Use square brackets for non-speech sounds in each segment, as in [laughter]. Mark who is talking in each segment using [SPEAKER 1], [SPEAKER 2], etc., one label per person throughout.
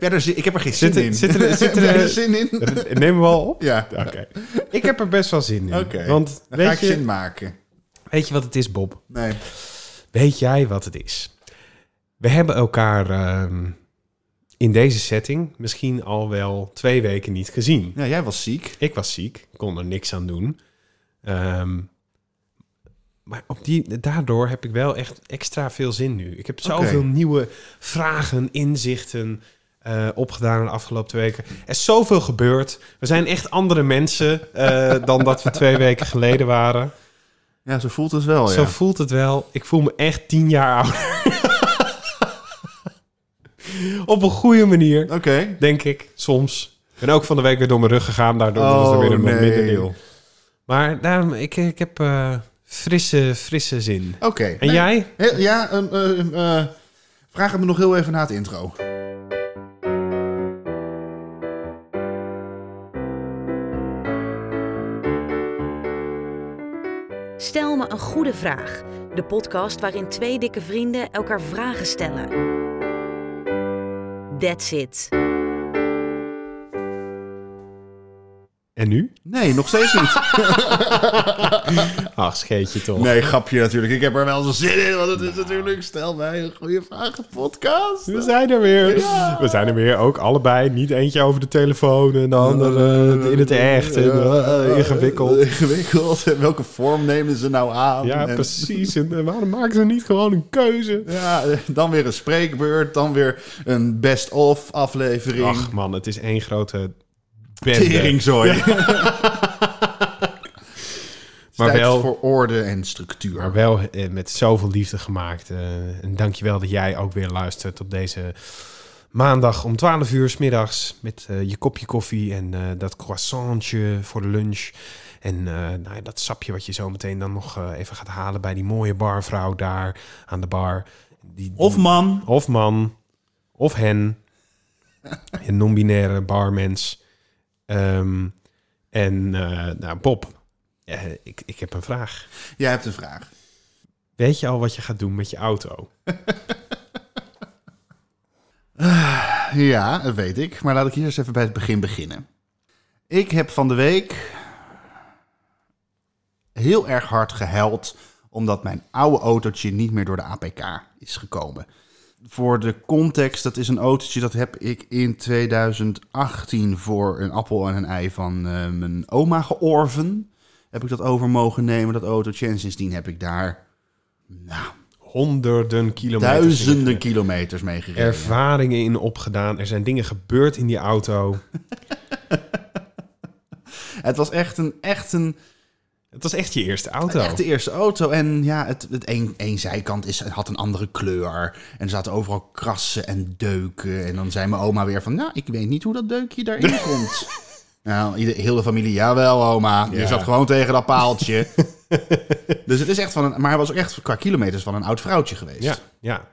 [SPEAKER 1] Ja, daar zi- ik heb er geen zin
[SPEAKER 2] Zitten-
[SPEAKER 1] in.
[SPEAKER 2] zitten
[SPEAKER 1] [laughs]
[SPEAKER 2] er- zitten
[SPEAKER 1] Heb jij
[SPEAKER 2] er-
[SPEAKER 1] er zin in? Oké,
[SPEAKER 2] Neem hem al
[SPEAKER 1] [laughs]
[SPEAKER 2] op?
[SPEAKER 1] Ja.
[SPEAKER 2] Oké. Ik heb er best wel zin in. Want
[SPEAKER 1] dan ga ik
[SPEAKER 2] weet
[SPEAKER 1] zin
[SPEAKER 2] je,
[SPEAKER 1] maken.
[SPEAKER 2] weet je wat het is, Bob?
[SPEAKER 1] Nee.
[SPEAKER 2] Weet jij wat het is? We hebben elkaar ehm, in deze setting misschien al wel twee weken niet gezien.
[SPEAKER 1] Ja, jij was ziek.
[SPEAKER 2] Ik was ziek, kon er niks aan doen. Ehm, maar op die, daardoor heb ik wel echt extra veel zin nu. Ik heb zoveel
[SPEAKER 1] Oké.
[SPEAKER 2] nieuwe vragen, inzichten eh, opgedaan de afgelopen twee weken. Er is zoveel gebeurd. We zijn echt andere mensen eh, dan dat we twee weken geleden waren.
[SPEAKER 1] Ja, zo voelt het wel, Oh ja.
[SPEAKER 2] Zo voelt het wel. Ik voel me echt tien jaar ouder. [laughs] Op een goede manier,
[SPEAKER 1] Oké.
[SPEAKER 2] denk ik, soms. Ik ben ook van de week weer door mijn rug gegaan, daardoor was er
[SPEAKER 1] Oh,
[SPEAKER 2] weer een
[SPEAKER 1] nee.
[SPEAKER 2] wat minder deel. Maar daarom, ik, ik heb eh, frisse, frisse zin.
[SPEAKER 1] Oké.
[SPEAKER 2] En
[SPEAKER 1] Nee.
[SPEAKER 2] jij?
[SPEAKER 1] Heel- ja, ehm, ehm, eh, vraag het me nog heel even na het intro.
[SPEAKER 3] Stel me een goede vraag. De podcast waarin twee dikke vrienden elkaar vragen stellen. That's it.
[SPEAKER 2] En nu?
[SPEAKER 1] Nee, nog steeds niet.
[SPEAKER 2] Ach, scheetje toch.
[SPEAKER 1] [laughs] Nee, grapje natuurlijk. Ik heb er wel zin in, want het is natuurlijk... Stel mij een goede vragen podcast.
[SPEAKER 2] We zijn er weer. We zijn er weer, ook allebei. Niet eentje over de telefoon en de andere in het echt. En, eh, ingewikkeld.
[SPEAKER 1] [laughs] Ingewikkeld. En welke vorm nemen ze nou aan?
[SPEAKER 2] Ja,
[SPEAKER 1] En-
[SPEAKER 2] precies. En eh, waarom maken ze niet gewoon een keuze?
[SPEAKER 1] Ja, eh, dan weer een spreekbeurt, dan weer een best-of aflevering.
[SPEAKER 2] Ach man, het is één [laughs] grote bende.
[SPEAKER 1] Teringzooi. [laughs]
[SPEAKER 2] Maar
[SPEAKER 1] Tijd
[SPEAKER 2] wel-
[SPEAKER 1] voor orde en structuur.
[SPEAKER 2] Maar wel eh, met zoveel liefde gemaakt. eh en dankjewel dat jij ook weer luistert op deze maandag om 12 uur 's middags Met eh, je kopje koffie en eh, dat croissantje voor de lunch. En eh, nou ja, dat sapje wat je zo meteen dan nog eh, even gaat halen bij die mooie barvrouw daar aan de bar. Die, die-
[SPEAKER 4] Of man.
[SPEAKER 2] of man, of hen. Een non-binaire barmens. Ehm, en eh, nou, Bob, eh, ik, ik heb een vraag.
[SPEAKER 1] Jij hebt een vraag.
[SPEAKER 2] Weet je al wat je gaat doen met je auto?
[SPEAKER 1] Ja, dat weet ik. Maar laat ik hier eens even bij het begin beginnen. Ik heb van de week heel erg hard gehuild omdat mijn oude autootje niet meer door de APK is gekomen. Voor de context, dat is een autootje dat heb ik in 2018 voor een appel en een ei van eh, mijn oma georven. Heb ik dat over mogen nemen, dat autootje. En sindsdien heb ik daar
[SPEAKER 2] Honderden kilometers.
[SPEAKER 1] duizenden
[SPEAKER 2] in-
[SPEAKER 1] kilometers mee gereden.
[SPEAKER 2] Ervaringen in opgedaan. Er zijn dingen gebeurd in die auto.
[SPEAKER 1] Het was echt een, echt een
[SPEAKER 2] Het was echt je eerste auto.
[SPEAKER 1] Echt de eerste auto. En ja, het, het een, een zijkant is, had een andere kleur. En er zaten overal krassen en deuken. En dan zei mijn oma weer van... Nou, ik weet niet hoe dat deukje
[SPEAKER 2] [laughs]
[SPEAKER 1] daarin komt. nou, ieder, heel de familie... Jawel, oma. Je
[SPEAKER 2] Ja.
[SPEAKER 1] zat gewoon tegen dat paaltje. [laughs] dus het is echt van een... Maar hij was ook echt qua kilometers van een oud vrouwtje geweest.
[SPEAKER 2] Ja, ja,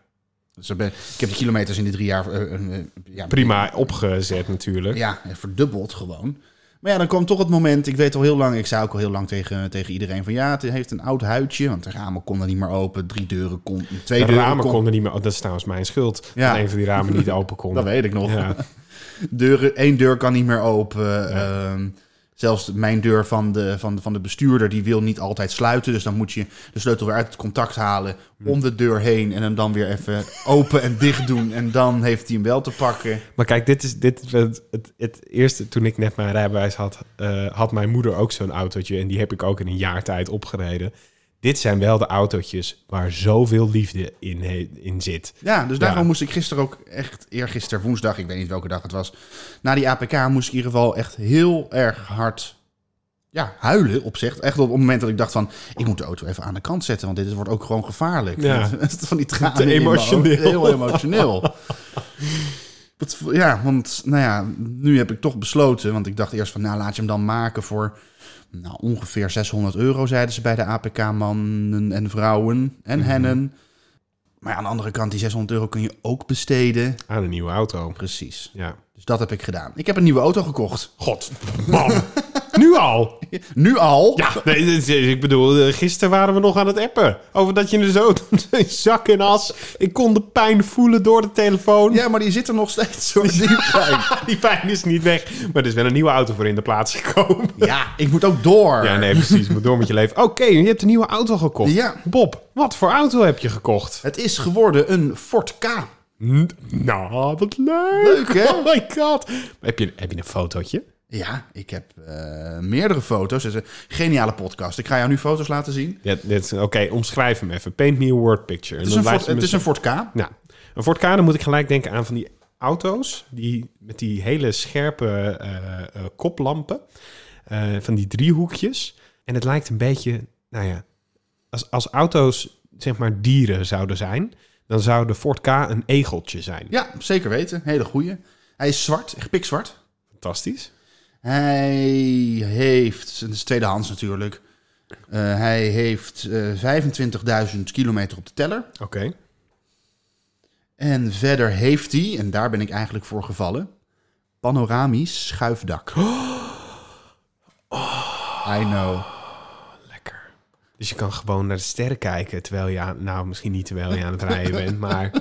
[SPEAKER 1] Dus ik ben- ik heb de kilometers in die drie jaar... eh, eh, eh, ja,
[SPEAKER 2] prima opgezet natuurlijk.
[SPEAKER 1] ja, verdubbeld gewoon. Maar ja, dan kwam toch het moment, ik weet al heel lang, ik zei ook al heel lang tegen, tegen iedereen van ja, het heeft een oud huidje, want de ramen konden niet meer open, drie deuren kon, twee
[SPEAKER 2] De
[SPEAKER 1] deuren
[SPEAKER 2] ramen
[SPEAKER 1] kon-
[SPEAKER 2] konden niet meer... oh, dat is trouwens mijn schuld.
[SPEAKER 1] Ja.
[SPEAKER 2] Dat een van die ramen niet open kon.
[SPEAKER 1] [laughs] Dat weet ik nog.
[SPEAKER 2] Ja.
[SPEAKER 1] Deuren, één deur kan niet meer open. ehm, zelfs mijn deur van de, van, de- van de bestuurder, die wil niet altijd sluiten, dus dan moet je de sleutel weer uit het contact halen,
[SPEAKER 2] Hm.
[SPEAKER 1] om de deur heen en hem dan weer even open en dicht doen en dan heeft hij hem wel te pakken.
[SPEAKER 2] Maar kijk, dit is dit, is het, het, het eerste toen ik net mijn rijbewijs had, eh, had mijn moeder ook zo'n autootje. En die heb ik ook in een jaar tijd opgereden. Dit zijn wel de autootjes waar zoveel liefde in, he- in zit.
[SPEAKER 1] Ja, dus daarom
[SPEAKER 2] Ja.
[SPEAKER 1] moest ik gisteren ook echt, eergisteren woensdag, ik weet niet welke dag het was, na die APK moest ik in ieder geval echt heel erg hard ja, huilen op zich. Echt op het moment dat ik dacht van, ik moet de auto even aan de kant zetten, want dit wordt ook gewoon gevaarlijk.
[SPEAKER 2] Ja.
[SPEAKER 1] [laughs] van die tranen
[SPEAKER 2] Te
[SPEAKER 1] in mijn ogen.
[SPEAKER 2] emotioneel.
[SPEAKER 1] Heel emotioneel. Wat voor- ja, want nou ja, nu heb ik toch besloten, want ik dacht eerst van, nou laat je hem dan maken voor... Nou, ongeveer 600 euro, zeiden ze bij de APK-mannen en vrouwen en
[SPEAKER 2] Mhm.
[SPEAKER 1] hennen. Maar aan de andere kant, die 600 euro kun je ook besteden.
[SPEAKER 2] Aan een nieuwe auto.
[SPEAKER 1] Precies.
[SPEAKER 2] Ja.
[SPEAKER 1] Dus dat heb ik gedaan. Ik heb een nieuwe auto gekocht.
[SPEAKER 2] God, man. Nu al?
[SPEAKER 1] Nu al?
[SPEAKER 2] Ja, nee, dit is- ik bedoel, eh, gisteren waren we nog aan het appen. Over dat je er zo [laughs] in zak en as... Ik kon de pijn voelen door de telefoon.
[SPEAKER 1] Ja, maar die zit er nog steeds,
[SPEAKER 2] [laughs]
[SPEAKER 1] hoor. Die pijn.
[SPEAKER 2] Die pijn is niet weg. Maar er is wel een nieuwe auto voor in de plaats gekomen.
[SPEAKER 1] Ja, ik moet ook door.
[SPEAKER 2] Ja, nee, precies. Moet door met je leven. Oké, je hebt een nieuwe auto gekocht.
[SPEAKER 1] Ja.
[SPEAKER 2] Bob, wat voor auto heb je gekocht?
[SPEAKER 1] Het is geworden een Ford K.
[SPEAKER 2] Nou, wat leuk.
[SPEAKER 1] Leuk, hè?
[SPEAKER 2] [laughs] Oh my god. Heb je, heb je een fotootje?
[SPEAKER 1] Ja, ik heb eh, meerdere foto's. Het is een geniale podcast. Ik ga jou nu foto's laten zien.
[SPEAKER 2] Ja, dit is- Oké, omschrijf hem even. Paint me a word picture.
[SPEAKER 1] Het is een Ford, het is een Ford K.
[SPEAKER 2] Nou, een Ford K, dan moet ik gelijk denken aan van die auto's... Die, met die hele scherpe eh, eh, koplampen. eh, van die driehoekjes. En het lijkt een beetje... Nou ja, als, als auto's zeg maar dieren zouden zijn... dan zou de Ford K een egeltje zijn.
[SPEAKER 1] Ja, zeker weten. Hele goeie. Hij is zwart, echt pikzwart.
[SPEAKER 2] Fantastisch.
[SPEAKER 1] Hij heeft, het is tweedehands natuurlijk, Eh, hij heeft eh, 25.000 kilometer op de teller.
[SPEAKER 2] Oké.
[SPEAKER 1] En verder heeft hij, en daar ben ik eigenlijk voor gevallen, panoramisch schuifdak. I know.
[SPEAKER 2] Lekker. Dus je kan gewoon naar de sterren kijken terwijl je aan, nou misschien niet terwijl je aan het rijden bent, maar
[SPEAKER 1] [laughs]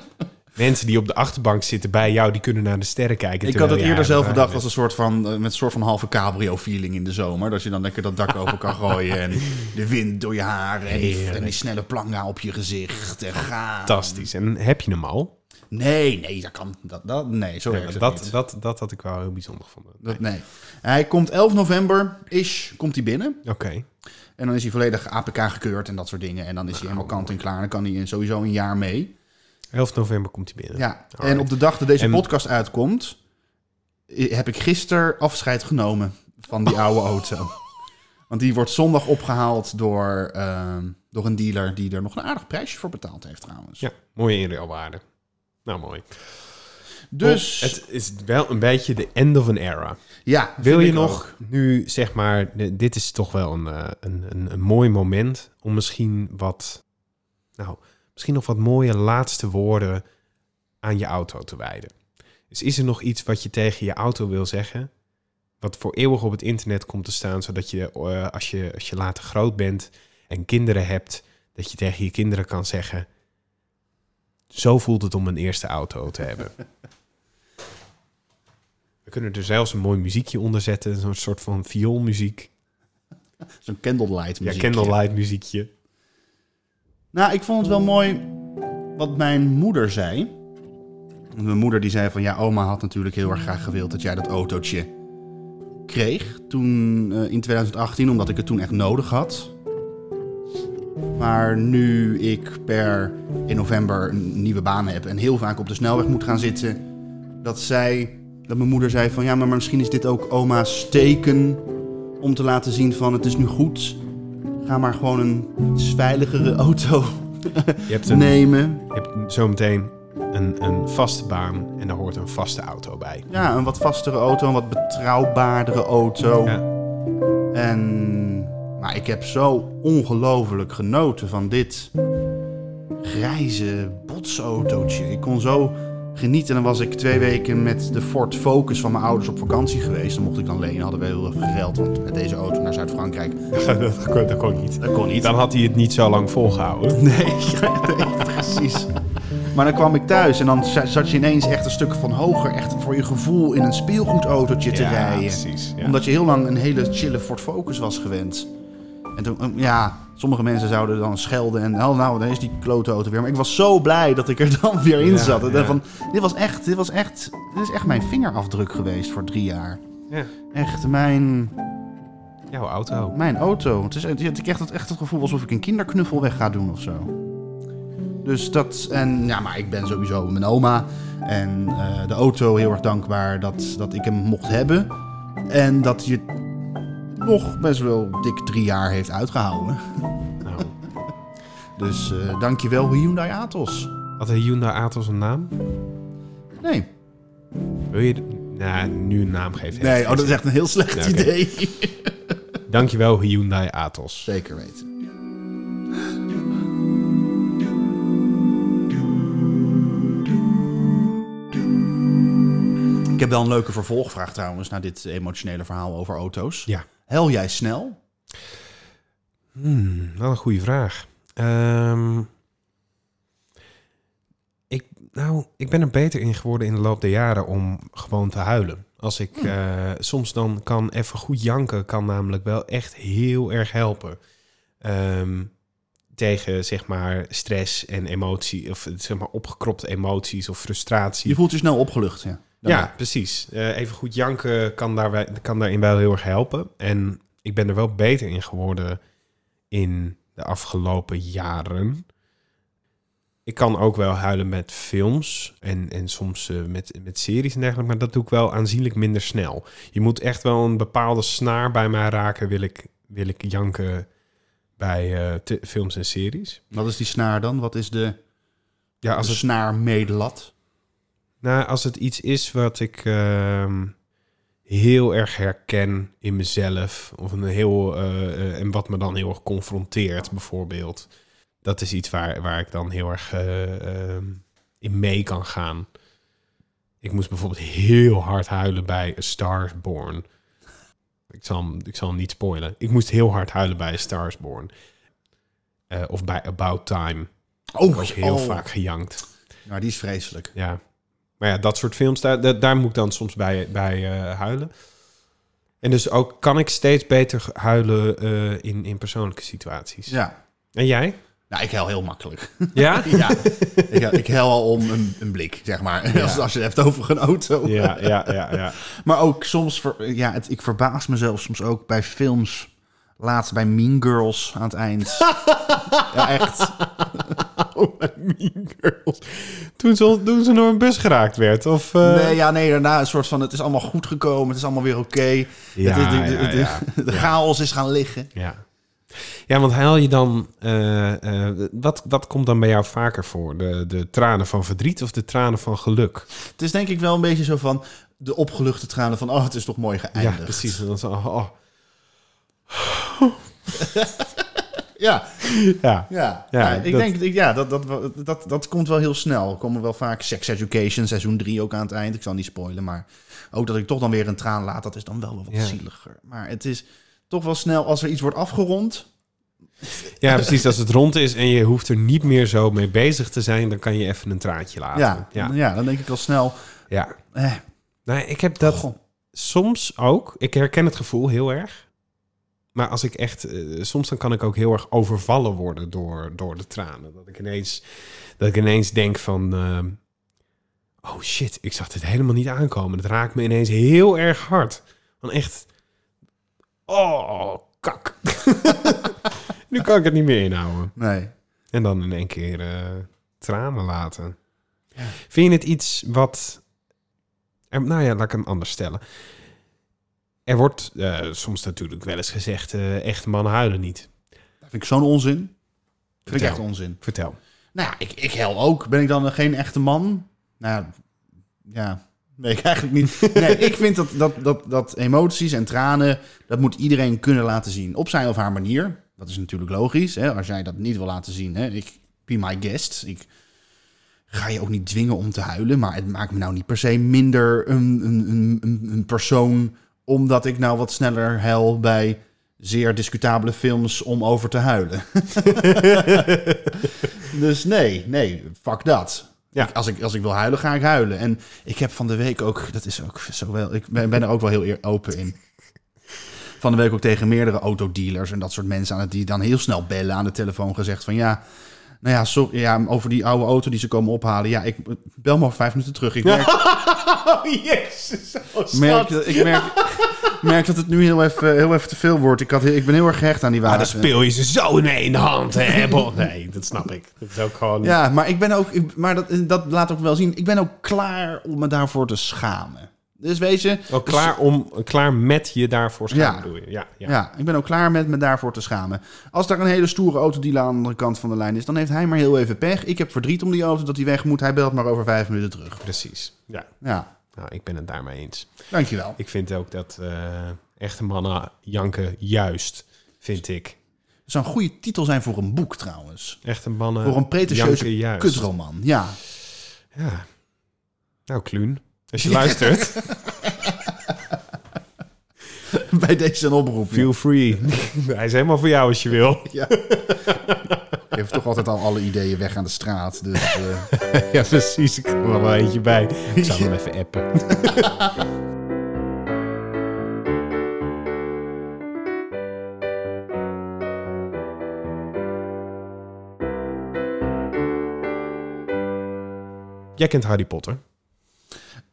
[SPEAKER 2] mensen die op de achterbank zitten bij jou, die kunnen naar de sterren kijken.
[SPEAKER 1] Ik had
[SPEAKER 2] terwijl
[SPEAKER 1] het
[SPEAKER 2] je
[SPEAKER 1] eerder
[SPEAKER 2] aan
[SPEAKER 1] zelf
[SPEAKER 2] het
[SPEAKER 1] bedacht als
[SPEAKER 2] rijden
[SPEAKER 1] een soort van, eh, met een soort van halve cabrio-feeling in de zomer. Dat je dan lekker dat dak open kan gooien
[SPEAKER 2] [laughs]
[SPEAKER 1] en de wind door je haar en die, en die snelle planga op je gezicht en gaan.
[SPEAKER 2] bent. Fantastisch. En heb je hem al?
[SPEAKER 1] Nee, nee, dat kan. Dat, dat, nee, zo werkt het
[SPEAKER 2] dat,
[SPEAKER 1] niet.
[SPEAKER 2] dat, dat had ik wel heel bijzonder gevonden.
[SPEAKER 1] Dat, nee. Hij komt 11 november, ish, komt hij binnen.
[SPEAKER 2] Oké.
[SPEAKER 1] En dan is hij volledig APK gekeurd en dat soort dingen. En dan is hij
[SPEAKER 2] Nou,
[SPEAKER 1] helemaal kant en klaar. Dan kan hij sowieso een jaar mee.
[SPEAKER 2] 11 november komt hij binnen.
[SPEAKER 1] Ja.
[SPEAKER 2] Alright.
[SPEAKER 1] En op de dag dat deze
[SPEAKER 2] En-
[SPEAKER 1] podcast uitkomt, i- heb ik gisteren afscheid genomen van die
[SPEAKER 2] [laughs]
[SPEAKER 1] oude auto. Want die wordt zondag opgehaald door, ehm, door een dealer die er nog een aardig prijsje voor betaald heeft trouwens.
[SPEAKER 2] Ja, mooie inruilwaarde. Nou, mooi.
[SPEAKER 1] Dus
[SPEAKER 2] Het is wel een beetje de end of an era.
[SPEAKER 1] ja,
[SPEAKER 2] Wil
[SPEAKER 1] vind
[SPEAKER 2] je
[SPEAKER 1] ik
[SPEAKER 2] nog
[SPEAKER 1] ook.
[SPEAKER 2] nu, zeg maar, de- dit is toch wel een, eh, een, een, een mooi moment om misschien wat, nou, misschien nog wat mooie laatste woorden aan je auto te wijden. Dus is er nog iets wat je tegen je auto wil zeggen, wat voor eeuwig op het internet komt te staan, zodat je, eh, als je, als je later groot bent en kinderen hebt, dat je tegen je kinderen kan zeggen, zo voelt het om een eerste auto te hebben. We kunnen er zelfs een mooi muziekje onder zetten. Zo'n soort van vioolmuziek.
[SPEAKER 1] Zo'n candlelight
[SPEAKER 2] Ja,
[SPEAKER 1] muziekje.
[SPEAKER 2] candlelight muziekje.
[SPEAKER 1] Nou, ik vond het wel mooi wat mijn moeder zei. Want Mijn moeder die zei van ja, oma had natuurlijk heel erg graag gewild dat jij dat autootje kreeg toen eh, in 2018, omdat ik het toen echt nodig had. Maar nu ik per in november een nieuwe baan heb en heel vaak op de snelweg moet gaan zitten, dat zij, dat mijn moeder zei van ja, maar misschien is dit ook oma's teken om te laten zien van het is nu goed. Ga maar gewoon een iets veiligere auto
[SPEAKER 2] Je hebt, een,
[SPEAKER 1] nemen.
[SPEAKER 2] je hebt zometeen een, een vaste baan en daar hoort een vaste auto bij.
[SPEAKER 1] Ja, een wat vastere auto, een wat betrouwbaardere auto.
[SPEAKER 2] Ja,
[SPEAKER 1] En, maar ik heb zo ongelooflijk genoten van dit grijze botsautootje. Ik kon zo genieten. En dan was ik twee weken met de Ford Focus van mijn ouders op vakantie geweest. Dan mocht ik dan lenen. Hadden we heel veel geld, want met deze auto naar Zuid-Frankrijk,
[SPEAKER 2] [laughs] dat, kon, dat kon niet.
[SPEAKER 1] dat kon niet.
[SPEAKER 2] Dan had hij het niet zo lang volgehouden.
[SPEAKER 1] Nee, [laughs] nee, precies. Maar dan kwam ik thuis en dan za- zat je ineens echt een stuk van hoger, echt voor je gevoel in een speelgoedautootje te
[SPEAKER 2] ja,
[SPEAKER 1] rijden.
[SPEAKER 2] precies. Ja.
[SPEAKER 1] Omdat je heel lang een hele chille Ford Focus was gewend. En toen, um, ja, sommige mensen zouden dan schelden en oh, nou, daar is die klote auto weer. Maar ik was zo blij dat ik er [laughs] dan weer in
[SPEAKER 2] Ja,
[SPEAKER 1] zat. En dan
[SPEAKER 2] ja.
[SPEAKER 1] van, dit was echt, dit was echt, dit is echt mijn vingerafdruk geweest voor drie jaar.
[SPEAKER 2] Ja,
[SPEAKER 1] Echt mijn,
[SPEAKER 2] jouw auto.
[SPEAKER 1] mijn auto. Het is, het- ik krijg dat echt het gevoel alsof ik een kinderknuffel weg ga doen of zo. Dus dat, en ja, maar ik ben sowieso mijn oma en eh, de auto heel erg dankbaar dat, dat ik hem mocht hebben. En dat je het nog best wel dik drie jaar heeft uitgehouden.
[SPEAKER 2] Nou,
[SPEAKER 1] Dus eh dankjewel Hyundai Atos.
[SPEAKER 2] had de Hyundai Atos een naam?
[SPEAKER 1] Nee,
[SPEAKER 2] Wil je... Nou, nu een naam geven.
[SPEAKER 1] nee oh, dat is echt een heel slecht
[SPEAKER 2] Ja, oké.
[SPEAKER 1] idee.
[SPEAKER 2] Dankjewel Hyundai Atos.
[SPEAKER 1] Zeker weten. Ik heb wel een leuke vervolgvraag trouwens naar dit emotionele verhaal over auto's.
[SPEAKER 2] Ja.
[SPEAKER 1] Hel jij snel?
[SPEAKER 2] Hmm, wel een goede vraag. Ehm, ik, nou, ik ben er beter in geworden in de loop der jaren om gewoon te huilen. Als ik eh, soms dan kan even goed janken, kan namelijk wel echt heel erg helpen. Ehm, tegen zeg maar stress en emotie, of zeg maar opgekropte emoties of frustratie.
[SPEAKER 1] Je voelt je snel opgelucht, ja. Dan-
[SPEAKER 2] Ja, precies. Eh, even goed janken kan, daar, wij- kan daarin wel heel erg helpen. En ik ben er wel beter in geworden in de afgelopen jaren. Ik kan ook wel huilen met films en, en soms eh, met, met series en dergelijke, maar dat doe ik wel aanzienlijk minder snel. Je moet echt wel een bepaalde snaar bij mij raken, wil ik, wil ik janken bij eh, te- films en series.
[SPEAKER 1] Wat is die snaar dan? Wat is de,
[SPEAKER 2] Ja, als
[SPEAKER 1] de
[SPEAKER 2] het
[SPEAKER 1] snaar medelat?
[SPEAKER 2] Nou, als het iets is wat ik ehm, heel erg herken in mezelf, of een heel, eh, eh, en wat me dan heel erg confronteert, bijvoorbeeld, dat is iets waar, waar ik dan heel erg eh, ehm, in mee kan gaan. Ik moest bijvoorbeeld heel hard huilen bij A Star is Born. Ik zal, hem- ik zal hem niet spoilen. Ik moest heel hard huilen bij A Star is Born. Eh, of bij About Time.
[SPEAKER 1] Oh,
[SPEAKER 2] Ook heel
[SPEAKER 1] oh.
[SPEAKER 2] vaak gejankt.
[SPEAKER 1] Nou, die is vreselijk.
[SPEAKER 2] Ja. Maar ja, dat soort films, daar, daar, daar moet ik dan soms bij, bij eh, huilen. En dus ook kan ik steeds beter ge- huilen eh, in, in persoonlijke situaties.
[SPEAKER 1] Ja.
[SPEAKER 2] En jij?
[SPEAKER 1] Nou, ik hel heel makkelijk.
[SPEAKER 2] [laughs] Ja?
[SPEAKER 1] ja. [laughs] Ik, hel- ik hel al om een, een blik, zeg maar. [laughs] Als, als je het hebt over een auto.
[SPEAKER 2] ja, ja, ja, [laughs] ja.
[SPEAKER 1] Maar ook soms, ver- ja, het, ik verbaas mezelf soms ook bij films. Laatst bij Mean Girls aan het eind. ja, echt.
[SPEAKER 2] Mean Girls. Toen ze, toen ze door een bus geraakt werd, of... eh,
[SPEAKER 1] Nee, ja, nee, daarna een soort van, het is allemaal goed gekomen. Het is allemaal weer oké.
[SPEAKER 2] Ja,
[SPEAKER 1] Het- het-
[SPEAKER 2] ja,
[SPEAKER 1] het-
[SPEAKER 2] ja.
[SPEAKER 1] [laughs] De chaos is gaan liggen.
[SPEAKER 2] Ja. Ja, want haal je dan... eh, eh, wat, wat komt dan bij jou vaker voor? De, de tranen van verdriet of de tranen van geluk?
[SPEAKER 1] Het is denk ik wel een beetje zo van de opgeluchte tranen van... oh, het is toch mooi geëindigd.
[SPEAKER 2] Ja, precies. En dan zo, oh, oh.
[SPEAKER 1] Ja,
[SPEAKER 2] Ja,
[SPEAKER 1] ja.
[SPEAKER 2] Ja,
[SPEAKER 1] Ja, ik
[SPEAKER 2] dat-
[SPEAKER 1] denk, ik- ja, dat, dat, dat, dat komt wel heel snel. Er komen wel vaak Sex Education, seizoen 3 ook aan het eind. Ik zal niet spoilen, maar ook dat ik toch dan weer een traan laat... dat is dan wel wat
[SPEAKER 2] Ja.
[SPEAKER 1] zieliger. Maar het is toch wel snel als er iets wordt afgerond...
[SPEAKER 2] Ja, precies. Als het rond is en je hoeft er niet meer zo mee bezig te zijn, dan kan je even een traantje laten.
[SPEAKER 1] ja, ja.
[SPEAKER 2] ja.
[SPEAKER 1] dan denk ik al snel...
[SPEAKER 2] ja.
[SPEAKER 1] Eh,
[SPEAKER 2] Nou, ik heb dat
[SPEAKER 1] goh,
[SPEAKER 2] soms ook. Ik herken het gevoel heel erg. Maar als ik echt, eh, soms dan kan ik ook heel erg overvallen worden door, door de tranen. Dat ik ineens, dat ik ineens denk van, ehm, oh shit, ik zag dit helemaal niet aankomen. Dat raakt me ineens heel erg hard. Van echt, oh kak. [laughs] nu kan ik het niet meer inhouden.
[SPEAKER 1] nee.
[SPEAKER 2] En dan in één keer eh, tranen laten. Vind je het iets wat... er- nou ja, laat ik hem anders stellen. Er wordt eh, soms natuurlijk wel eens gezegd... eh echte mannen huilen niet.
[SPEAKER 1] Dat vind ik zo'n onzin. Dat vind ik
[SPEAKER 2] Vertel.
[SPEAKER 1] echt onzin.
[SPEAKER 2] Vertel.
[SPEAKER 1] Nou ja, ik, ik hel ook. Ben ik dan geen echte man? Nou ja, weet ik eigenlijk niet. Nee, ik vind dat, dat, dat, dat emoties en tranen, dat moet iedereen kunnen laten zien. Op zijn of haar manier. Dat is natuurlijk logisch. Hè? Als jij dat niet wil laten zien, hè? ik be my guest. Ik ga je ook niet dwingen om te huilen, maar het maakt me nou niet per se minder een, een, een, een- een persoon omdat ik nou wat sneller hel bij zeer discutabele films om over te huilen. Dus nee, nee, fuck dat.
[SPEAKER 2] Ja.
[SPEAKER 1] Ik- als, ik, als ik wil huilen, ga ik huilen. En ik heb van de week ook, dat is ook zo wel, ik ben, ben er ook wel heel eer- open in. Van de week ook tegen meerdere autodealers en dat soort mensen aan het die dan heel snel bellen aan de telefoon gezegd van ja, nou ja, sorry, ja over die oude auto die ze komen ophalen. Ja, ik bel maar over vijf minuten terug. Ik
[SPEAKER 2] [laughs]
[SPEAKER 1] merk,
[SPEAKER 2] Oh, jezus. oh,
[SPEAKER 1] merk, dat- ik merk, merk dat het nu heel even, heel even te veel wordt. Ik, had, heel- ik ben heel erg gehecht aan die
[SPEAKER 2] Maar
[SPEAKER 1] wagen.
[SPEAKER 2] dan speel je ze zo in één hand, [laughs] hè? Bon, Nee, dat snap ik. Dat is ook gewoon...
[SPEAKER 1] Ja, maar ik ben ook. ik- maar dat, dat laat ook wel zien. Ik ben ook klaar om me daarvoor te schamen. Dus weet je.
[SPEAKER 2] Wel klaar, om, klaar met je daarvoor schaam,
[SPEAKER 1] Ja.
[SPEAKER 2] bedoel je? Ja, ja.
[SPEAKER 1] Dus, Ja. ik ben ook klaar met me daarvoor te schamen. Als daar een hele stoere autodealer aan de andere kant van de lijn is, dan heeft hij maar heel even pech. Ik heb verdriet om die auto dat hij weg moet. Hij belt maar over vijf minuten terug.
[SPEAKER 2] precies. Ja,
[SPEAKER 1] Ja,
[SPEAKER 2] nou, ik ben het daarmee eens.
[SPEAKER 1] dankjewel.
[SPEAKER 2] Ik vind ook dat eh, echte mannen janken juist, vind ik.
[SPEAKER 1] Het zou een goede titel zijn voor een boek trouwens.
[SPEAKER 2] Echte mannen
[SPEAKER 1] Voor een
[SPEAKER 2] janken
[SPEAKER 1] pretentieuze
[SPEAKER 2] juist.
[SPEAKER 1] kutroman. Ja. [laughs]
[SPEAKER 2] Ja. [laughs] Nou, Kluun, als je luistert.
[SPEAKER 1] Bij bij deze een oproep.
[SPEAKER 2] Feel free. [laughs] Hij is helemaal voor jou als je wil.
[SPEAKER 1] Je heeft toch altijd al alle ideeën weg aan de straat. Dus, eh,
[SPEAKER 2] [laughs] [laughs] ja, precies. Ik heb er wel eentje bij. Ik zal [laughs] hem even appen. Jij kent Harry Potter.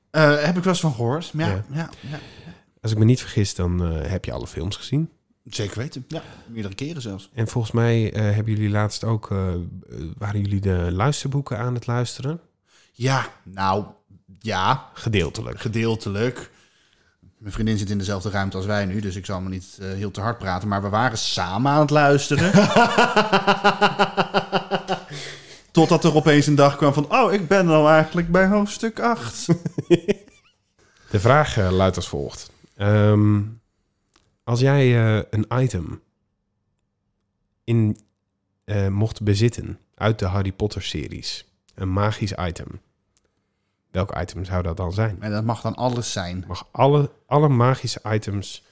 [SPEAKER 1] eh, heb ik wel eens van gehoord. Ja,
[SPEAKER 2] Ja.
[SPEAKER 1] ja. Ja,
[SPEAKER 2] Als ik me niet vergis, dan eh, heb je alle films gezien.
[SPEAKER 1] Zeker weten. Ja, meerdere keren zelfs.
[SPEAKER 2] En volgens mij eh, hebben jullie laatst ook... eh, eh, waren jullie de luisterboeken aan het luisteren?
[SPEAKER 1] Ja, nou, ja,
[SPEAKER 2] Gedeeltelijk.
[SPEAKER 1] gedeeltelijk. Mijn vriendin zit in dezelfde ruimte als wij nu, dus ik zal me niet eh, heel te hard praten. Maar we waren samen aan het luisteren. [laughs] Totdat er opeens een dag kwam van, oh, ik ben nou eigenlijk bij hoofdstuk 8.
[SPEAKER 2] De vraag eh, luidt als volgt. Ehm, als jij eh, een item in, eh, mocht bezitten uit de Harry Potter series, een magisch item, welk item zou dat dan zijn?
[SPEAKER 1] [laughs] En dat mag dan alles zijn.
[SPEAKER 2] Mag alle, alle magische items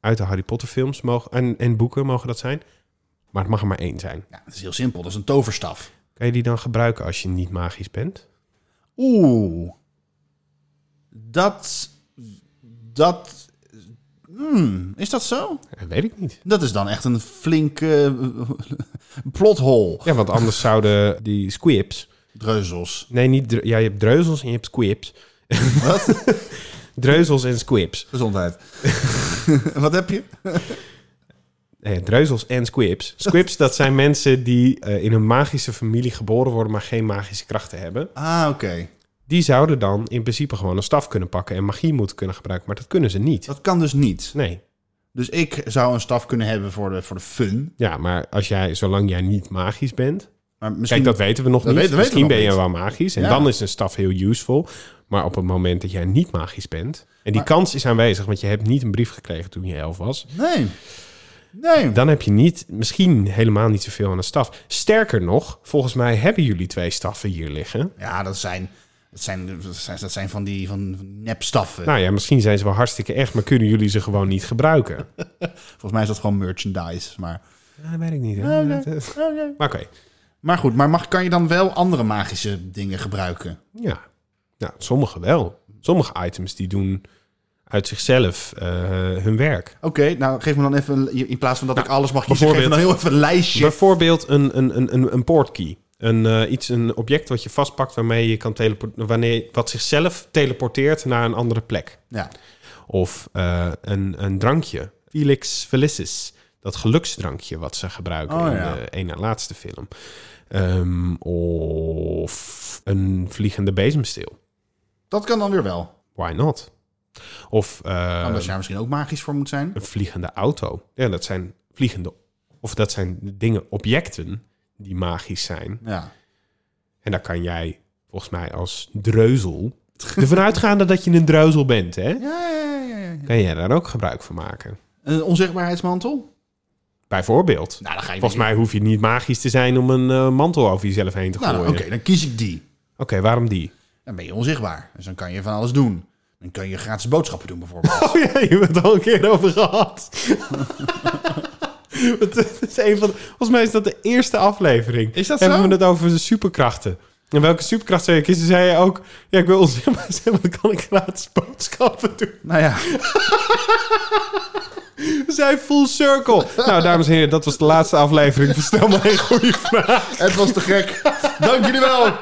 [SPEAKER 2] uit de Harry Potter films mogen, en, en boeken mogen dat zijn, maar het mag er maar één zijn.
[SPEAKER 1] Ja, dat is heel simpel, dat is een toverstaf.
[SPEAKER 2] Kan je die dan gebruiken als je niet magisch bent?
[SPEAKER 1] Oeh. Dat. Dat. Hmm, is dat zo?
[SPEAKER 2] Eh, weet ik niet.
[SPEAKER 1] Dat is dan echt een flinke eh, [laughs] plothol.
[SPEAKER 2] Ja, want anders zouden die squibs
[SPEAKER 1] Dreuzels.
[SPEAKER 2] Nee, niet dre- ja, je hebt dreuzels en je hebt squibs.
[SPEAKER 1] [laughs] Wat?
[SPEAKER 2] Dreuzels en squibs.
[SPEAKER 1] Gezondheid. [laughs] Wat heb je?
[SPEAKER 2] Nee, dreuzels en squibs. Squibs, dat zijn [laughs] mensen die eh, in een magische familie geboren worden, maar geen magische krachten hebben.
[SPEAKER 1] Ah, oké.
[SPEAKER 2] Die zouden dan in principe gewoon een staf kunnen pakken en magie moeten kunnen gebruiken, maar dat kunnen ze niet.
[SPEAKER 1] Dat kan dus niet.
[SPEAKER 2] Nee.
[SPEAKER 1] Dus ik zou een staf kunnen hebben voor de, voor de fun.
[SPEAKER 2] Ja, maar als jij, zolang jij niet magisch bent.
[SPEAKER 1] Maar
[SPEAKER 2] Kijk,
[SPEAKER 1] misschien
[SPEAKER 2] dat weten we nog
[SPEAKER 1] Dat
[SPEAKER 2] niet.
[SPEAKER 1] weten- weten we
[SPEAKER 2] Misschien
[SPEAKER 1] nog
[SPEAKER 2] ben je
[SPEAKER 1] niet.
[SPEAKER 2] wel magisch en
[SPEAKER 1] Ja.
[SPEAKER 2] dan is een staf heel useful. Maar op het moment dat jij niet magisch bent. En die kans is aanwezig, want je hebt niet een brief gekregen toen je elf was.
[SPEAKER 1] Nee. Nee.
[SPEAKER 2] dan heb je niet, misschien helemaal niet zoveel aan een staf. Sterker nog, volgens mij hebben jullie twee staffen hier liggen.
[SPEAKER 1] Ja, dat zijn. Dat zijn, dat zijn, dat zijn van die van van nepstaffen.
[SPEAKER 2] Nou ja, misschien zijn ze wel hartstikke echt, maar kunnen jullie ze gewoon niet gebruiken?
[SPEAKER 1] Volgens mij is dat gewoon merchandise. Maar,
[SPEAKER 2] Ja, dat weet ik niet. hè. Dat- Maar oké,
[SPEAKER 1] maar goed, maar mag, kan je dan wel andere magische dingen gebruiken?
[SPEAKER 2] ja. Nou, sommige wel. Sommige items die doen uit zichzelf eh, hun werk.
[SPEAKER 1] Oké, nou geef me dan even, een- in plaats van dat ik alles mag kiezen, geef me dan
[SPEAKER 2] Nou, bijvoorbeeld-
[SPEAKER 1] heel even een lijstje.
[SPEAKER 2] Bijvoorbeeld een, een, een, een, een portkey. Een, eh, iets, een object wat je vastpakt waarmee je kan teleporteren, wanneer, wat zichzelf teleporteert naar een andere plek.
[SPEAKER 1] Ja.
[SPEAKER 2] Of eh, een, een drankje. Felix Felicis. Dat geluksdrankje wat ze gebruiken
[SPEAKER 1] Oh,
[SPEAKER 2] in
[SPEAKER 1] ja.
[SPEAKER 2] de ene laatste film. Ehm, of een vliegende bezemsteel.
[SPEAKER 1] Dat kan dan weer wel.
[SPEAKER 2] Why not? Of eh,
[SPEAKER 1] Omdat je daar misschien ook magisch voor moet zijn.
[SPEAKER 2] een vliegende auto. Ja, dat zijn vliegende... Of dat zijn dingen, objecten die magisch zijn.
[SPEAKER 1] Ja.
[SPEAKER 2] En daar kan jij volgens mij als
[SPEAKER 1] [laughs]
[SPEAKER 2] dreuzel... ervan uitgaande dat je een dreuzel bent, hè?
[SPEAKER 1] Ja, ja, ja, ja, ja.
[SPEAKER 2] Kan jij daar ook gebruik van maken?
[SPEAKER 1] Een onzichtbaarheidsmantel?
[SPEAKER 2] Bijvoorbeeld.
[SPEAKER 1] Nou, dan ga je
[SPEAKER 2] Volgens mij hoef je niet magisch te zijn om een eh, mantel over jezelf heen te
[SPEAKER 1] Nou,
[SPEAKER 2] gooien.
[SPEAKER 1] nou, oké,
[SPEAKER 2] Oké,
[SPEAKER 1] dan kies ik die.
[SPEAKER 2] waarom die?
[SPEAKER 1] Dan ben je onzichtbaar. Dus dan kan je van alles doen. Dan kan je gratis boodschappen doen bijvoorbeeld.
[SPEAKER 2] Oh ja, je hebt het al een keer over
[SPEAKER 1] [laughs]
[SPEAKER 2] gehad. Want het is een van de- volgens mij is dat de eerste aflevering.
[SPEAKER 1] Is dat
[SPEAKER 2] Hebben
[SPEAKER 1] zo?
[SPEAKER 2] we het over de superkrachten. En welke superkracht zou je kiezen? Zei je ook, ja, ik wil [laughs] onzichtbaar zijn, maar dan kan ik gratis boodschappen doen.
[SPEAKER 1] [laughs] nou ja,
[SPEAKER 2] We zijn full circle. Nou, dames en heren, dat was de laatste aflevering van Stel maar een goede vraag.
[SPEAKER 1] het was te gek. Dank jullie wel.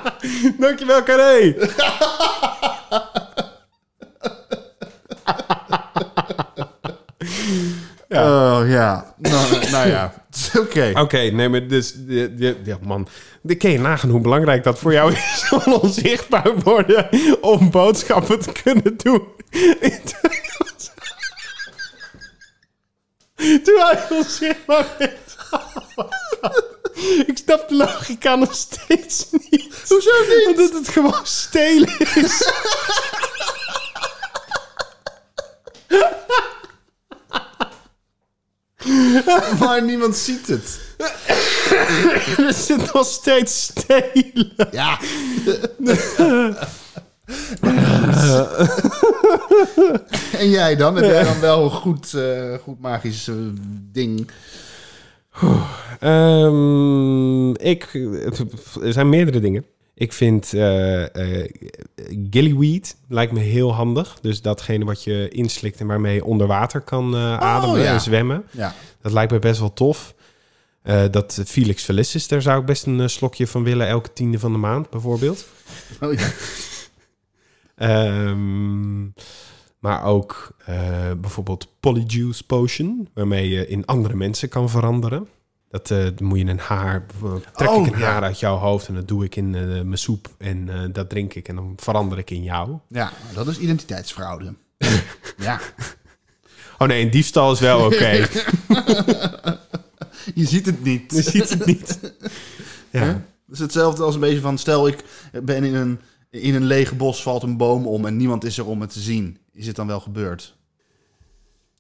[SPEAKER 2] Dankjewel, Carré.
[SPEAKER 1] Ja. Oh ja. Nou, nou ja, oké.
[SPEAKER 2] Oké, nee, maar dus... de- de- Ja, man. Dan kun je nagaan hoe belangrijk dat voor jou is... [laughs] om onzichtbaar worden... om boodschappen te kunnen doen. Terwijl je onzichtbaar bent. Ik snap de logica nog steeds niet. Hoezo niet? Omdat het gewoon stelen is.
[SPEAKER 1] Maar niemand ziet het.
[SPEAKER 2] [laughs] Er zit nog
[SPEAKER 1] [laughs]
[SPEAKER 2] steeds stelen.
[SPEAKER 1] Ja. En jij dan? Heb jij dan wel een goed, eh, goed magisch eh, ding?
[SPEAKER 2] Ehm, ik, er zijn meerdere dingen. Ik vind eh, eh, gillyweed lijkt me heel handig. Dus datgene wat je inslikt en waarmee je onder water kan eh, ademen
[SPEAKER 1] ja.
[SPEAKER 2] en zwemmen.
[SPEAKER 1] Ja.
[SPEAKER 2] Dat lijkt me best wel tof. Eh, dat Felix Felicis, daar zou ik best een eh, slokje van willen elke tiende van de maand bijvoorbeeld.
[SPEAKER 1] Oh, ja.
[SPEAKER 2] Ehm, maar ook eh, bijvoorbeeld Polyjuice Potion, waarmee je in andere mensen kan veranderen. Dat eh, dan moet je een haar, bijvoorbeeld trek
[SPEAKER 1] Oh,
[SPEAKER 2] ik een
[SPEAKER 1] ja.
[SPEAKER 2] haar uit jouw hoofd en dat doe ik in eh, mijn soep en eh, dat drink ik en dan verander ik in jou.
[SPEAKER 1] ja, dat is [laughs] identiteitsfraude. ja.
[SPEAKER 2] Oh nee, een diefstal is wel oké.
[SPEAKER 1] [laughs]
[SPEAKER 2] [laughs]
[SPEAKER 1] Je ziet het niet.
[SPEAKER 2] Je ziet het niet.
[SPEAKER 1] Hè?
[SPEAKER 2] Ja.
[SPEAKER 1] Dat is hetzelfde als een beetje van... stel, ik ben in een, in een leeg bos, valt een boom om... en niemand is er om het te zien. Is het dan wel gebeurd?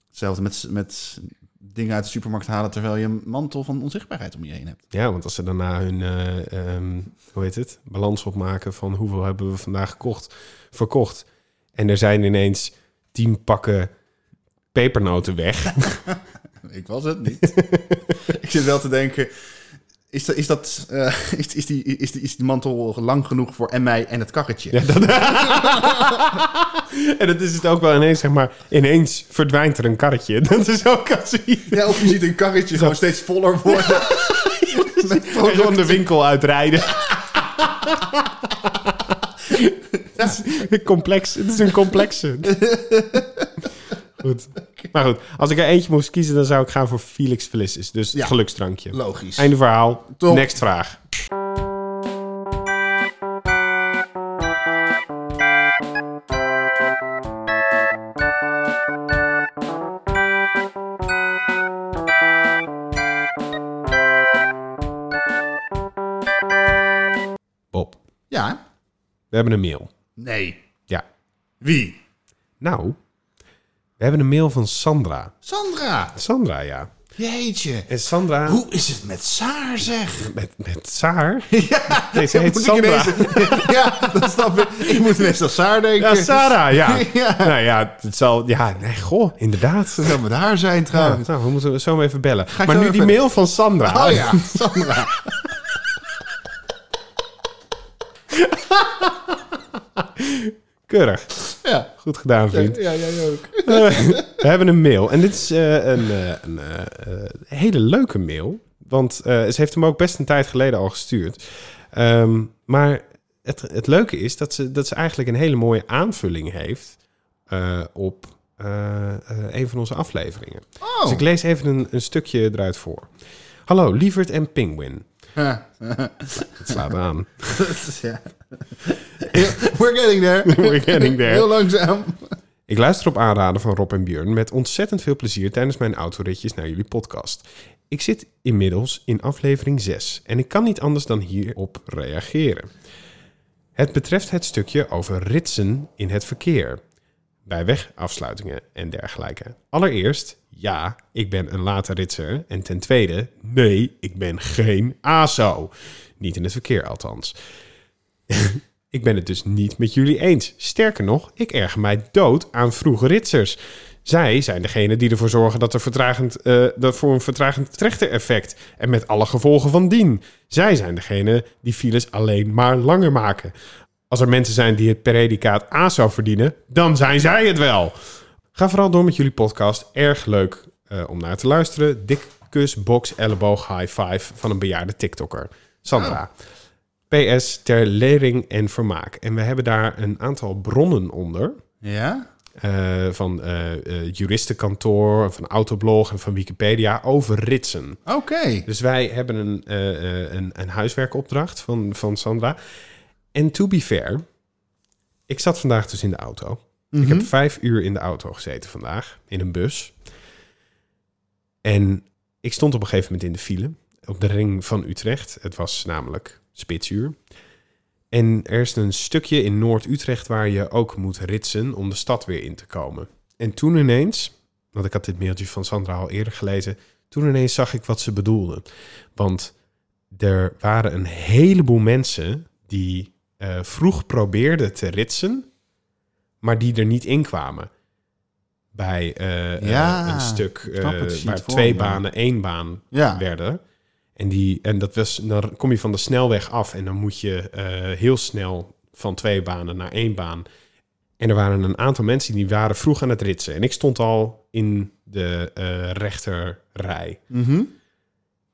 [SPEAKER 1] Hetzelfde met, met dingen uit de supermarkt halen... terwijl je een mantel van onzichtbaarheid om je heen hebt. [laughs]
[SPEAKER 2] ja, want als ze daarna hun, eh, ehm, hoe heet het, balans opmaken van hoeveel hebben we vandaag gekocht, verkocht. En er zijn ineens tien pakken pepernoten weg.
[SPEAKER 1] Ik was het
[SPEAKER 2] [laughs]
[SPEAKER 1] niet. ik zit wel te denken... Is, dat, is, dat, eh, is, is, die, is, die, is die mantel lang genoeg voor en mij en het karretje?
[SPEAKER 2] Ja, dat... [laughs] en dat is het ook wel ineens, zeg maar, ineens verdwijnt er een karretje. [laughs] Dat is ook als je
[SPEAKER 1] Ja, of je ziet een karretje gewoon steeds voller
[SPEAKER 2] [laughs]
[SPEAKER 1] worden. Met
[SPEAKER 2] gewoon
[SPEAKER 1] producten.
[SPEAKER 2] de winkel
[SPEAKER 1] [laughs]
[SPEAKER 2] uitrijden. Het is complex. Het is een complexe. Goed. Maar goed, als ik er eentje moest kiezen, dan zou ik gaan voor Felix Felicis. Dus het
[SPEAKER 1] Ja.
[SPEAKER 2] geluksdrankje.
[SPEAKER 1] Logisch.
[SPEAKER 2] Einde verhaal.
[SPEAKER 1] Top.
[SPEAKER 2] Next vraag. Bob,
[SPEAKER 1] Ja?
[SPEAKER 2] we hebben een mail.
[SPEAKER 1] Nee.
[SPEAKER 2] Ja.
[SPEAKER 1] Wie?
[SPEAKER 2] Nou, we hebben een mail van Sandra.
[SPEAKER 1] Sandra.
[SPEAKER 2] Sandra, ja.
[SPEAKER 1] Jeetje.
[SPEAKER 2] En Sandra
[SPEAKER 1] Hoe is het met Saar, zeg?
[SPEAKER 2] met, met [laughs] Saar.
[SPEAKER 1] [laughs]
[SPEAKER 2] Deze heet
[SPEAKER 1] Moet ik
[SPEAKER 2] Sandra.
[SPEAKER 1] ineens- [laughs] ja, dat snap ik. Ik moet ineens aan Saar denken.
[SPEAKER 2] [laughs] Ja, Sarah, ja.
[SPEAKER 1] [laughs] Ja.
[SPEAKER 2] Nou ja, het zal... Ja, nee, goh,
[SPEAKER 1] [laughs]
[SPEAKER 2] inderdaad.
[SPEAKER 1] Dat zou met haar zijn,
[SPEAKER 2] Ja,
[SPEAKER 1] trouwens.
[SPEAKER 2] nou, we moeten zo maar even bellen.
[SPEAKER 1] ik
[SPEAKER 2] Maar
[SPEAKER 1] zo
[SPEAKER 2] nu
[SPEAKER 1] even-
[SPEAKER 2] die mail van Sandra.
[SPEAKER 1] Oh ja, Sandra.
[SPEAKER 2] Keurig.
[SPEAKER 1] Ja.
[SPEAKER 2] Goed gedaan, vriend.
[SPEAKER 1] Ja, jij ook. [laughs]
[SPEAKER 2] Eh, We hebben een mail. En dit is eh, een, eh, een eh, eh, hele leuke mail. Want eh, ze heeft hem ook best een tijd geleden al gestuurd. Ehm, maar het, het leuke is dat ze, dat ze eigenlijk een hele mooie aanvulling heeft eh, op eh, eh, een van onze afleveringen. Dus ik lees even een, een stukje eruit voor. Hallo, Lievert en Penguin.
[SPEAKER 1] Ja.
[SPEAKER 2] Het slaat aan.
[SPEAKER 1] We're getting there.
[SPEAKER 2] We're getting there.
[SPEAKER 1] Heel langzaam.
[SPEAKER 2] Ik luister op aanraden van Rob en Björn met ontzettend veel plezier tijdens mijn autoritjes naar jullie podcast. Ik zit inmiddels in aflevering 6 en ik kan niet anders dan hierop reageren. Het betreft het stukje over ritsen in het verkeer, bij wegafsluitingen en dergelijke. Allereerst, ja, ik ben een late ritser. En ten tweede, nee, ik ben geen ASO. Niet in het verkeer althans. Ik ben het dus niet met jullie eens. Sterker nog, ik erger mij dood aan vroege ritsers. Zij zijn degene die ervoor zorgen dat er vertragend, eh, dat voor een vertragend trechtereffect en met alle gevolgen van dien. Zij zijn degene die files alleen maar langer maken. Als er mensen zijn die het predicaat A zou verdienen, dan zijn zij het wel. Ga vooral door met jullie podcast. Erg leuk eh, om naar te luisteren. Dik kus, box, elleboog, high five van een bejaarde TikToker. Sandra. PS ter lering en vermaak. En we hebben daar een aantal bronnen onder.
[SPEAKER 1] Ja?
[SPEAKER 2] eh, van eh, eh, juristenkantoor, van Autoblog en van Wikipedia over ritsen.
[SPEAKER 1] Oké.
[SPEAKER 2] Dus wij hebben een, eh, eh, een, een huiswerkopdracht van, van Sandra. En to be fair, ik zat vandaag dus in de auto. Ik heb vijf uur in de auto gezeten vandaag, in een bus. En ik stond op een gegeven moment in de file, op de ring van Utrecht. Het was namelijk spitsuur. En er is een stukje in Noord-Utrecht waar je ook moet ritsen om de stad weer in te komen. En toen ineens, want ik had dit mailtje van Sandra al eerder gelezen, toen ineens zag ik wat ze bedoelde. Want er waren een heleboel mensen die eh, vroeg probeerden te ritsen, maar die er niet in kwamen. Bij eh, eh,
[SPEAKER 1] Ja,
[SPEAKER 2] een stuk
[SPEAKER 1] ik snap
[SPEAKER 2] eh,
[SPEAKER 1] het, zie
[SPEAKER 2] waar
[SPEAKER 1] het voor
[SPEAKER 2] twee
[SPEAKER 1] me.
[SPEAKER 2] banen één baan
[SPEAKER 1] Ja.
[SPEAKER 2] werden. En, die, en dat was, dan kom je van de snelweg af en dan moet je eh, heel snel van twee banen naar één baan. En er waren een aantal mensen die waren vroeg aan het ritsen. En ik stond al in de eh, rechterrij.
[SPEAKER 1] Mhm.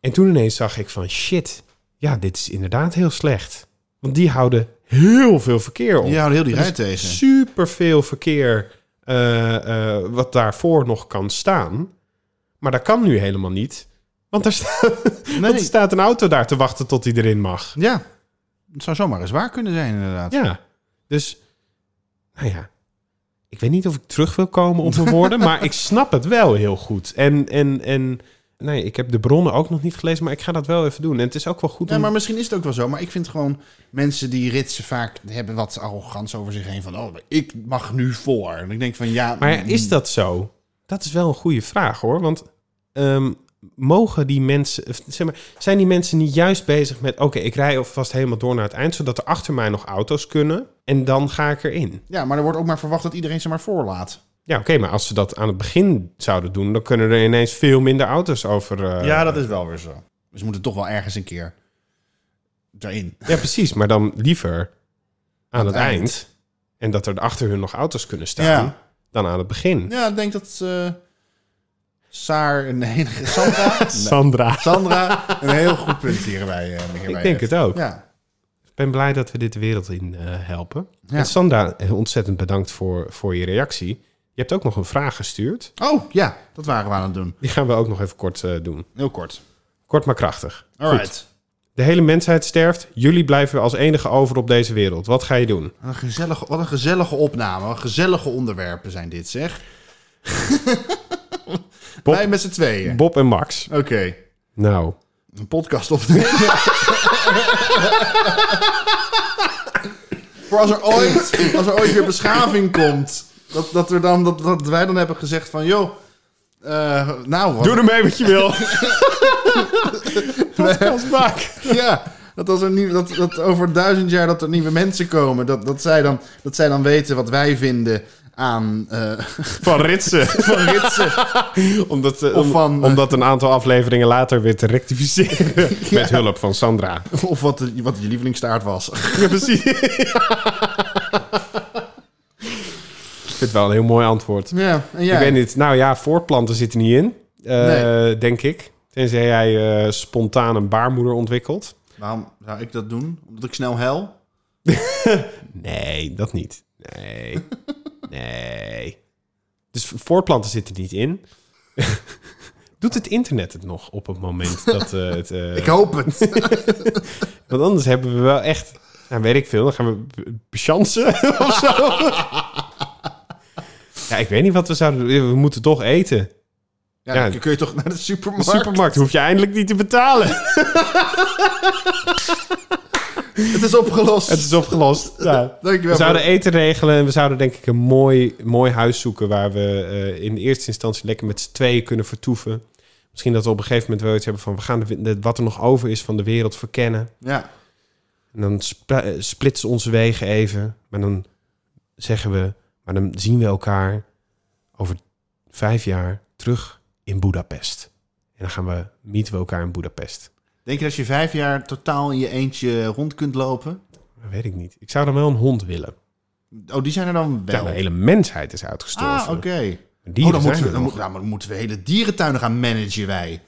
[SPEAKER 2] En toen ineens zag ik van shit, ja, dit is inderdaad heel slecht. Want die houden heel veel verkeer op.
[SPEAKER 1] Die houden heel die
[SPEAKER 2] Dat
[SPEAKER 1] rij
[SPEAKER 2] is
[SPEAKER 1] tegen.
[SPEAKER 2] Superveel verkeer eh, eh, wat daarvoor nog kan staan. Maar dat kan nu helemaal niet. Want er, sta- [laughs] want er
[SPEAKER 1] Nee.
[SPEAKER 2] staat een auto daar te wachten tot hij erin mag.
[SPEAKER 1] Ja, het zou zomaar eens waar kunnen zijn inderdaad.
[SPEAKER 2] Ja, dus nou ja. Ik weet niet of ik terug wil komen op mijn woorden, maar ik snap het wel heel goed. En, en, en nee, ik heb de bronnen ook nog niet gelezen, maar ik ga dat wel even doen. En het is ook wel goed
[SPEAKER 1] Ja,
[SPEAKER 2] om...
[SPEAKER 1] maar misschien is het ook wel zo. Maar ik vind gewoon mensen die ritsen vaak hebben wat arrogant over zich heen. Van, oh, ik mag nu voor. En ik denk van, ja...
[SPEAKER 2] Maar is dat zo? Dat is wel een goede vraag hoor. Want ehm, mogen die mensen, of, zeg maar, zijn die mensen niet juist bezig met: oké, ik rij alvast helemaal door naar het eind, zodat er achter mij nog auto's kunnen en dan ga ik erin?
[SPEAKER 1] Ja, maar er wordt ook maar verwacht dat iedereen ze maar voorlaat.
[SPEAKER 2] Ja, oké, maar als ze dat aan het begin zouden doen, dan kunnen er ineens veel minder auto's over. eh,
[SPEAKER 1] ja, dat is wel weer zo. Dus ze moeten toch wel ergens een keer erin.
[SPEAKER 2] ja, precies. Maar dan liever aan het,
[SPEAKER 1] het
[SPEAKER 2] eind.
[SPEAKER 1] eind.
[SPEAKER 2] en dat er achter hun nog auto's kunnen staan,
[SPEAKER 1] Ja.
[SPEAKER 2] dan aan het begin.
[SPEAKER 1] Ja, ik denk dat eh, Saar en nee, Sandra, Nee,
[SPEAKER 2] Sandra.
[SPEAKER 1] Sandra een heel goed punt hierbij, eh, hierbij
[SPEAKER 2] Ik denk
[SPEAKER 1] heeft.
[SPEAKER 2] het ook.
[SPEAKER 1] Ja.
[SPEAKER 2] Ik ben blij dat we dit de wereld in eh, helpen.
[SPEAKER 1] Ja.
[SPEAKER 2] En Sandra, eh, ontzettend bedankt voor, voor je reactie. Je hebt ook nog een vraag gestuurd.
[SPEAKER 1] Oh, ja, dat waren we aan het doen.
[SPEAKER 2] Die gaan we ook nog even kort eh, doen.
[SPEAKER 1] Heel kort.
[SPEAKER 2] Kort maar krachtig.
[SPEAKER 1] All
[SPEAKER 2] Goed.
[SPEAKER 1] right.
[SPEAKER 2] De hele mensheid sterft. Jullie blijven als enige over op deze wereld. Wat ga je doen?
[SPEAKER 1] Wat een gezellige, wat een gezellige opname. Wat gezellige onderwerpen zijn dit, zeg.
[SPEAKER 2] Bob-
[SPEAKER 1] Wij met z'n tweeën.
[SPEAKER 2] Bob en Max.
[SPEAKER 1] Oké,
[SPEAKER 2] Nou,
[SPEAKER 1] een podcast opnemen. [laughs] Voor als er ooit, als er ooit weer beschaving komt, dat, dat, er dan, dat, dat wij dan hebben gezegd van, joh, eh, nou, wat,
[SPEAKER 2] doe ermee wat je [laughs] wil. Podcast Max.
[SPEAKER 1] [laughs] ja, dat als er nieuw, dat, dat over duizend jaar dat er nieuwe mensen komen, dat, dat, zij, dan, dat zij dan weten wat wij vinden aan eh, [laughs]
[SPEAKER 2] Van Ritsen.
[SPEAKER 1] van ritsen.
[SPEAKER 2] Omdat, eh,
[SPEAKER 1] Of
[SPEAKER 2] om-
[SPEAKER 1] van, eh,
[SPEAKER 2] omdat een aantal afleveringen later weer te [laughs] rectificeren. Met hulp van Sandra.
[SPEAKER 1] Of wat, de- wat je lievelingstaart was.
[SPEAKER 2] Ja, precies. Ik vind het wel een heel mooi antwoord.
[SPEAKER 1] Ja, en jij?
[SPEAKER 2] Ik weet niet. Nou ja, voortplanten zitten niet in, eh, denk ik. Tenzij jij eh, spontaan een baarmoeder ontwikkelt.
[SPEAKER 1] Waarom zou ik dat doen? Omdat ik snel hel?
[SPEAKER 2] Nee, dat niet.
[SPEAKER 1] [laughs]
[SPEAKER 2] Nee. nee. Dus voortplanten zitten niet in. [laughs] Doet het internet het nog op het moment dat eh, het...
[SPEAKER 1] [laughs]
[SPEAKER 2] eh,
[SPEAKER 1] Ik hoop het.
[SPEAKER 2] Want anders hebben we wel echt... Nou, weet ik veel. Dan gaan we b- bechansen [laughs] of zo. ja, ik weet niet wat we zouden doen. We moeten toch eten.
[SPEAKER 1] Ja,
[SPEAKER 2] Ja.
[SPEAKER 1] dan kun je toch naar de
[SPEAKER 2] De
[SPEAKER 1] supermarkt?
[SPEAKER 2] supermarkt hoef je eindelijk niet te betalen.
[SPEAKER 1] [laughs] Het is opgelost.
[SPEAKER 2] Het is opgelost. Ja.
[SPEAKER 1] Dankjewel.
[SPEAKER 2] We zouden eten regelen en we zouden denk ik een mooi, mooi huis zoeken... waar we eh, in eerste instantie lekker met z'n tweeën kunnen vertoeven. Misschien dat we op een gegeven moment wel iets hebben van... we gaan de, de- wat er nog over is van de wereld verkennen.
[SPEAKER 1] Ja,
[SPEAKER 2] En dan spra- eh, splitsen onze wegen even. Maar dan zeggen we... maar dan zien we elkaar over vijf jaar terug in Budapest. En dan gaan we, meeten we elkaar in Budapest.
[SPEAKER 1] denk je dat je vijf jaar totaal in je eentje rond kunt lopen?
[SPEAKER 2] Dat weet ik niet. Ik zou dan wel een hond willen.
[SPEAKER 1] Oh, die zijn er dan wel.
[SPEAKER 2] Ja, de hele mensheid is uitgestorven.
[SPEAKER 1] ah, oké.
[SPEAKER 2] Die
[SPEAKER 1] Oh, dan moeten, we, dan, moet- nou, maar dan moeten we hele dierentuinen gaan managen, wij.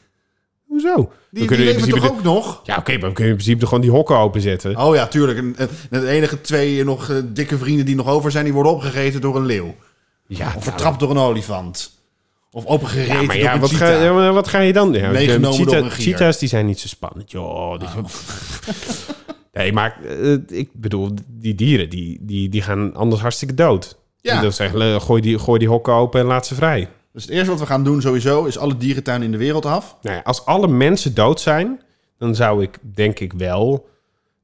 [SPEAKER 2] Hoezo? Dan
[SPEAKER 1] Die, die
[SPEAKER 2] kunnen we in
[SPEAKER 1] leven toch
[SPEAKER 2] principe
[SPEAKER 1] ook nog?
[SPEAKER 2] de- Ja, oké, maar dan kun je in principe gewoon die hokken openzetten.
[SPEAKER 1] Oh ja, tuurlijk. En, en de enige twee nog eh, dikke vrienden die nog over zijn, die worden opgegeten door een leeuw.
[SPEAKER 2] ja,
[SPEAKER 1] Of
[SPEAKER 2] nou,
[SPEAKER 1] vertrapt door een olifant. Of opgereten
[SPEAKER 2] Ja, maar
[SPEAKER 1] door
[SPEAKER 2] ja,
[SPEAKER 1] een
[SPEAKER 2] wat ga,
[SPEAKER 1] cheetah.
[SPEAKER 2] ja, maar wat ga je dan? Ja,
[SPEAKER 1] Meegenomen
[SPEAKER 2] de
[SPEAKER 1] door een Oh. gier.
[SPEAKER 2] cheetahs die zijn niet zo spannend. Joh, die- [laughs] Nee, maar eh, ik bedoel, die dieren die, die, die gaan anders hartstikke dood.
[SPEAKER 1] Ja.
[SPEAKER 2] Ja. Dat is eigenlijk, eh, gooi, die, gooi die hokken open en laat ze vrij.
[SPEAKER 1] Dus het eerste wat we gaan doen sowieso is alle dierentuinen in de wereld af.
[SPEAKER 2] Nou ja, als alle mensen dood zijn, dan zou ik denk ik wel.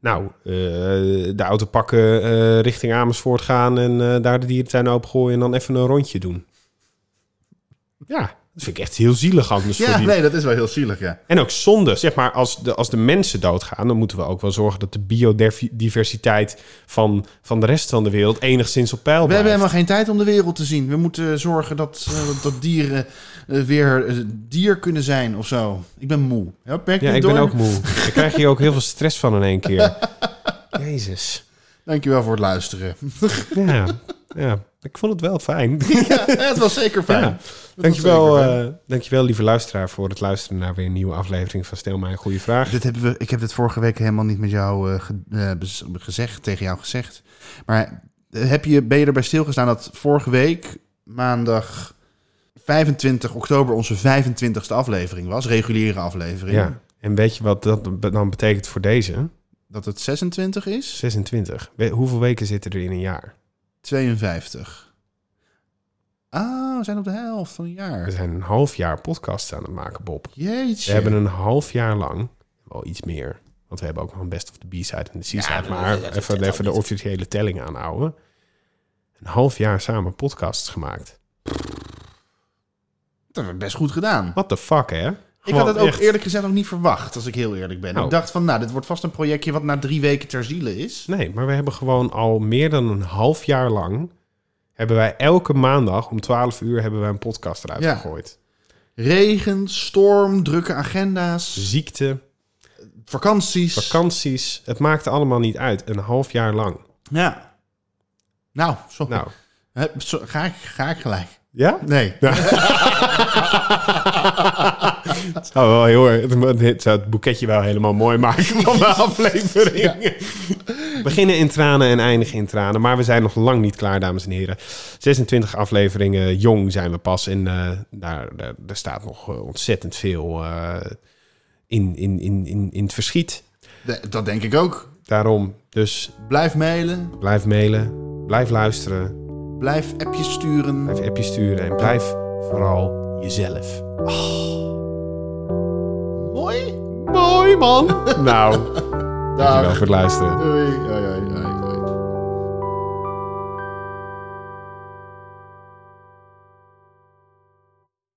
[SPEAKER 2] Nou, eh, de auto pakken, eh, richting Amersfoort gaan en eh, daar de dierentuin opengooien en dan even een rondje doen. Ja, Dat vind ik echt heel zielig anders voor
[SPEAKER 1] Ja,
[SPEAKER 2] die...
[SPEAKER 1] nee, dat is wel heel zielig, ja.
[SPEAKER 2] En ook zonde, zeg maar, als de, als de mensen doodgaan... dan moeten we ook wel zorgen dat de biodiversiteit van, van de rest van de wereld... enigszins op peil
[SPEAKER 1] We
[SPEAKER 2] blijft.
[SPEAKER 1] hebben helemaal geen tijd om de wereld te zien. We moeten zorgen dat, eh, dat- dat dieren eh, weer eh, dier kunnen zijn of zo. Ik ben moe. Ja, pek
[SPEAKER 2] Ja,
[SPEAKER 1] niet
[SPEAKER 2] ik
[SPEAKER 1] door.
[SPEAKER 2] ben ook moe. Daar krijg je ook heel veel stress van in één
[SPEAKER 1] [laughs]
[SPEAKER 2] keer. Jezus.
[SPEAKER 1] Dankjewel voor het
[SPEAKER 2] [laughs]
[SPEAKER 1] luisteren.
[SPEAKER 2] Ja, ja. ik vond het wel fijn. [laughs]
[SPEAKER 1] ja, het was zeker fijn.
[SPEAKER 2] Ja. Dankjewel, eh dankjewel, lieve luisteraar, voor het luisteren naar weer een nieuwe aflevering van Stel mij een goede vraag.
[SPEAKER 1] Dit hebben we, ik heb dit vorige week helemaal niet met jou eh, ge- eh, bez- gezegd, tegen jou gezegd. Maar eh, heb je, ben je erbij stilgestaan dat vorige week, maandag 25 oktober, onze 25ste aflevering was? Reguliere aflevering.
[SPEAKER 2] Ja. En weet je wat dat be- dan betekent voor deze?
[SPEAKER 1] Dat het 26 is?
[SPEAKER 2] 26. We- hoeveel weken zitten er in een jaar?
[SPEAKER 1] 52. Ah, we zijn op de helft van een
[SPEAKER 2] We
[SPEAKER 1] jaar.
[SPEAKER 2] zijn een half jaar podcast aan het maken, Bob.
[SPEAKER 1] Jeetje.
[SPEAKER 2] We hebben een half jaar lang, wel iets meer, want we hebben ook nog een best of the B-side en de C-side, maar even, even de officiële telling aanhouden. Een half jaar samen podcasts gemaakt.
[SPEAKER 1] Dat hebben we best goed gedaan.
[SPEAKER 2] What the fuck, hè?
[SPEAKER 1] ik had het ook
[SPEAKER 2] echt.
[SPEAKER 1] eerlijk gezegd ook niet verwacht, als ik heel eerlijk ben.
[SPEAKER 2] Oh.
[SPEAKER 1] Ik dacht van, nou, dit wordt vast een projectje wat na drie weken ter ziele is.
[SPEAKER 2] Nee, maar we hebben gewoon al meer dan een half jaar lang... hebben wij elke maandag om 12 uur hebben wij een podcast eruit
[SPEAKER 1] Ja.
[SPEAKER 2] gegooid.
[SPEAKER 1] Regen, storm, drukke agenda's,
[SPEAKER 2] Ziekte,
[SPEAKER 1] vakanties.
[SPEAKER 2] vakanties, het maakte allemaal niet uit. Een half jaar lang.
[SPEAKER 1] ja. Nou, sorry.
[SPEAKER 2] Nou,
[SPEAKER 1] Hè, zo- ga, ik, ga ik gelijk?
[SPEAKER 2] ja?
[SPEAKER 1] Nee. [laughs]
[SPEAKER 2] Het zou Oh, wel heel erg- Het zou het boeketje wel helemaal mooi maken
[SPEAKER 1] [laughs]
[SPEAKER 2] van de aflevering. Beginnen in tranen en eindigen in tranen. Maar we zijn nog lang niet klaar, dames en heren. 26 afleveringen, jong zijn we pas. En eh, daar, daar, daar staat nog eh, ontzettend veel eh, in, in, in, in, in het verschiet.
[SPEAKER 1] De- dat denk ik ook.
[SPEAKER 2] Daarom, dus
[SPEAKER 1] Blijf mailen,
[SPEAKER 2] blijf mailen, blijf luisteren,
[SPEAKER 1] blijf appjes sturen.
[SPEAKER 2] blijf appjes sturen en blijf vooral jezelf.
[SPEAKER 1] Mooi.
[SPEAKER 2] Mooi man! Nou, dankjewel
[SPEAKER 1] Dag.
[SPEAKER 2] Nou, voor het luisteren.
[SPEAKER 1] Doei. Oei, oei, oei.